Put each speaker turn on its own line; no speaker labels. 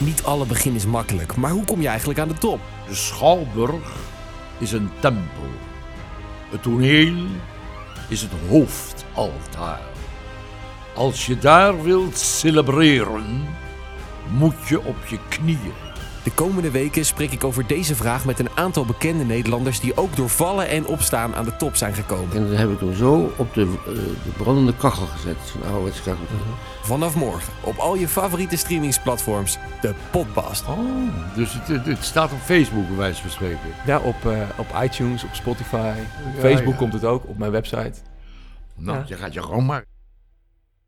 Niet alle begin is makkelijk, maar hoe kom je eigenlijk aan de top?
De schouwburg is een tempel. Het toneel is het hoofdaltaar. Als je daar wilt celebreren, moet je op je knieën.
De komende weken spreek ik over deze vraag met een aantal bekende Nederlanders die ook door vallen en opstaan aan de top zijn gekomen.
En dat heb ik hem zo op de, eh, de brandende kachel gezet. Zo'n ouderwetse kachel.
Vanaf morgen op al je favoriete streamingsplatforms, de podcast.
Oh, dus het, het- het staat op Facebook, bij wijze van spreken.
Ja, op, eh, op iTunes, op Spotify. Op
Ja,
Facebook
ja.
komt het ook, op mijn website.
Nou,
Ja.
je gaat je gewoon maken.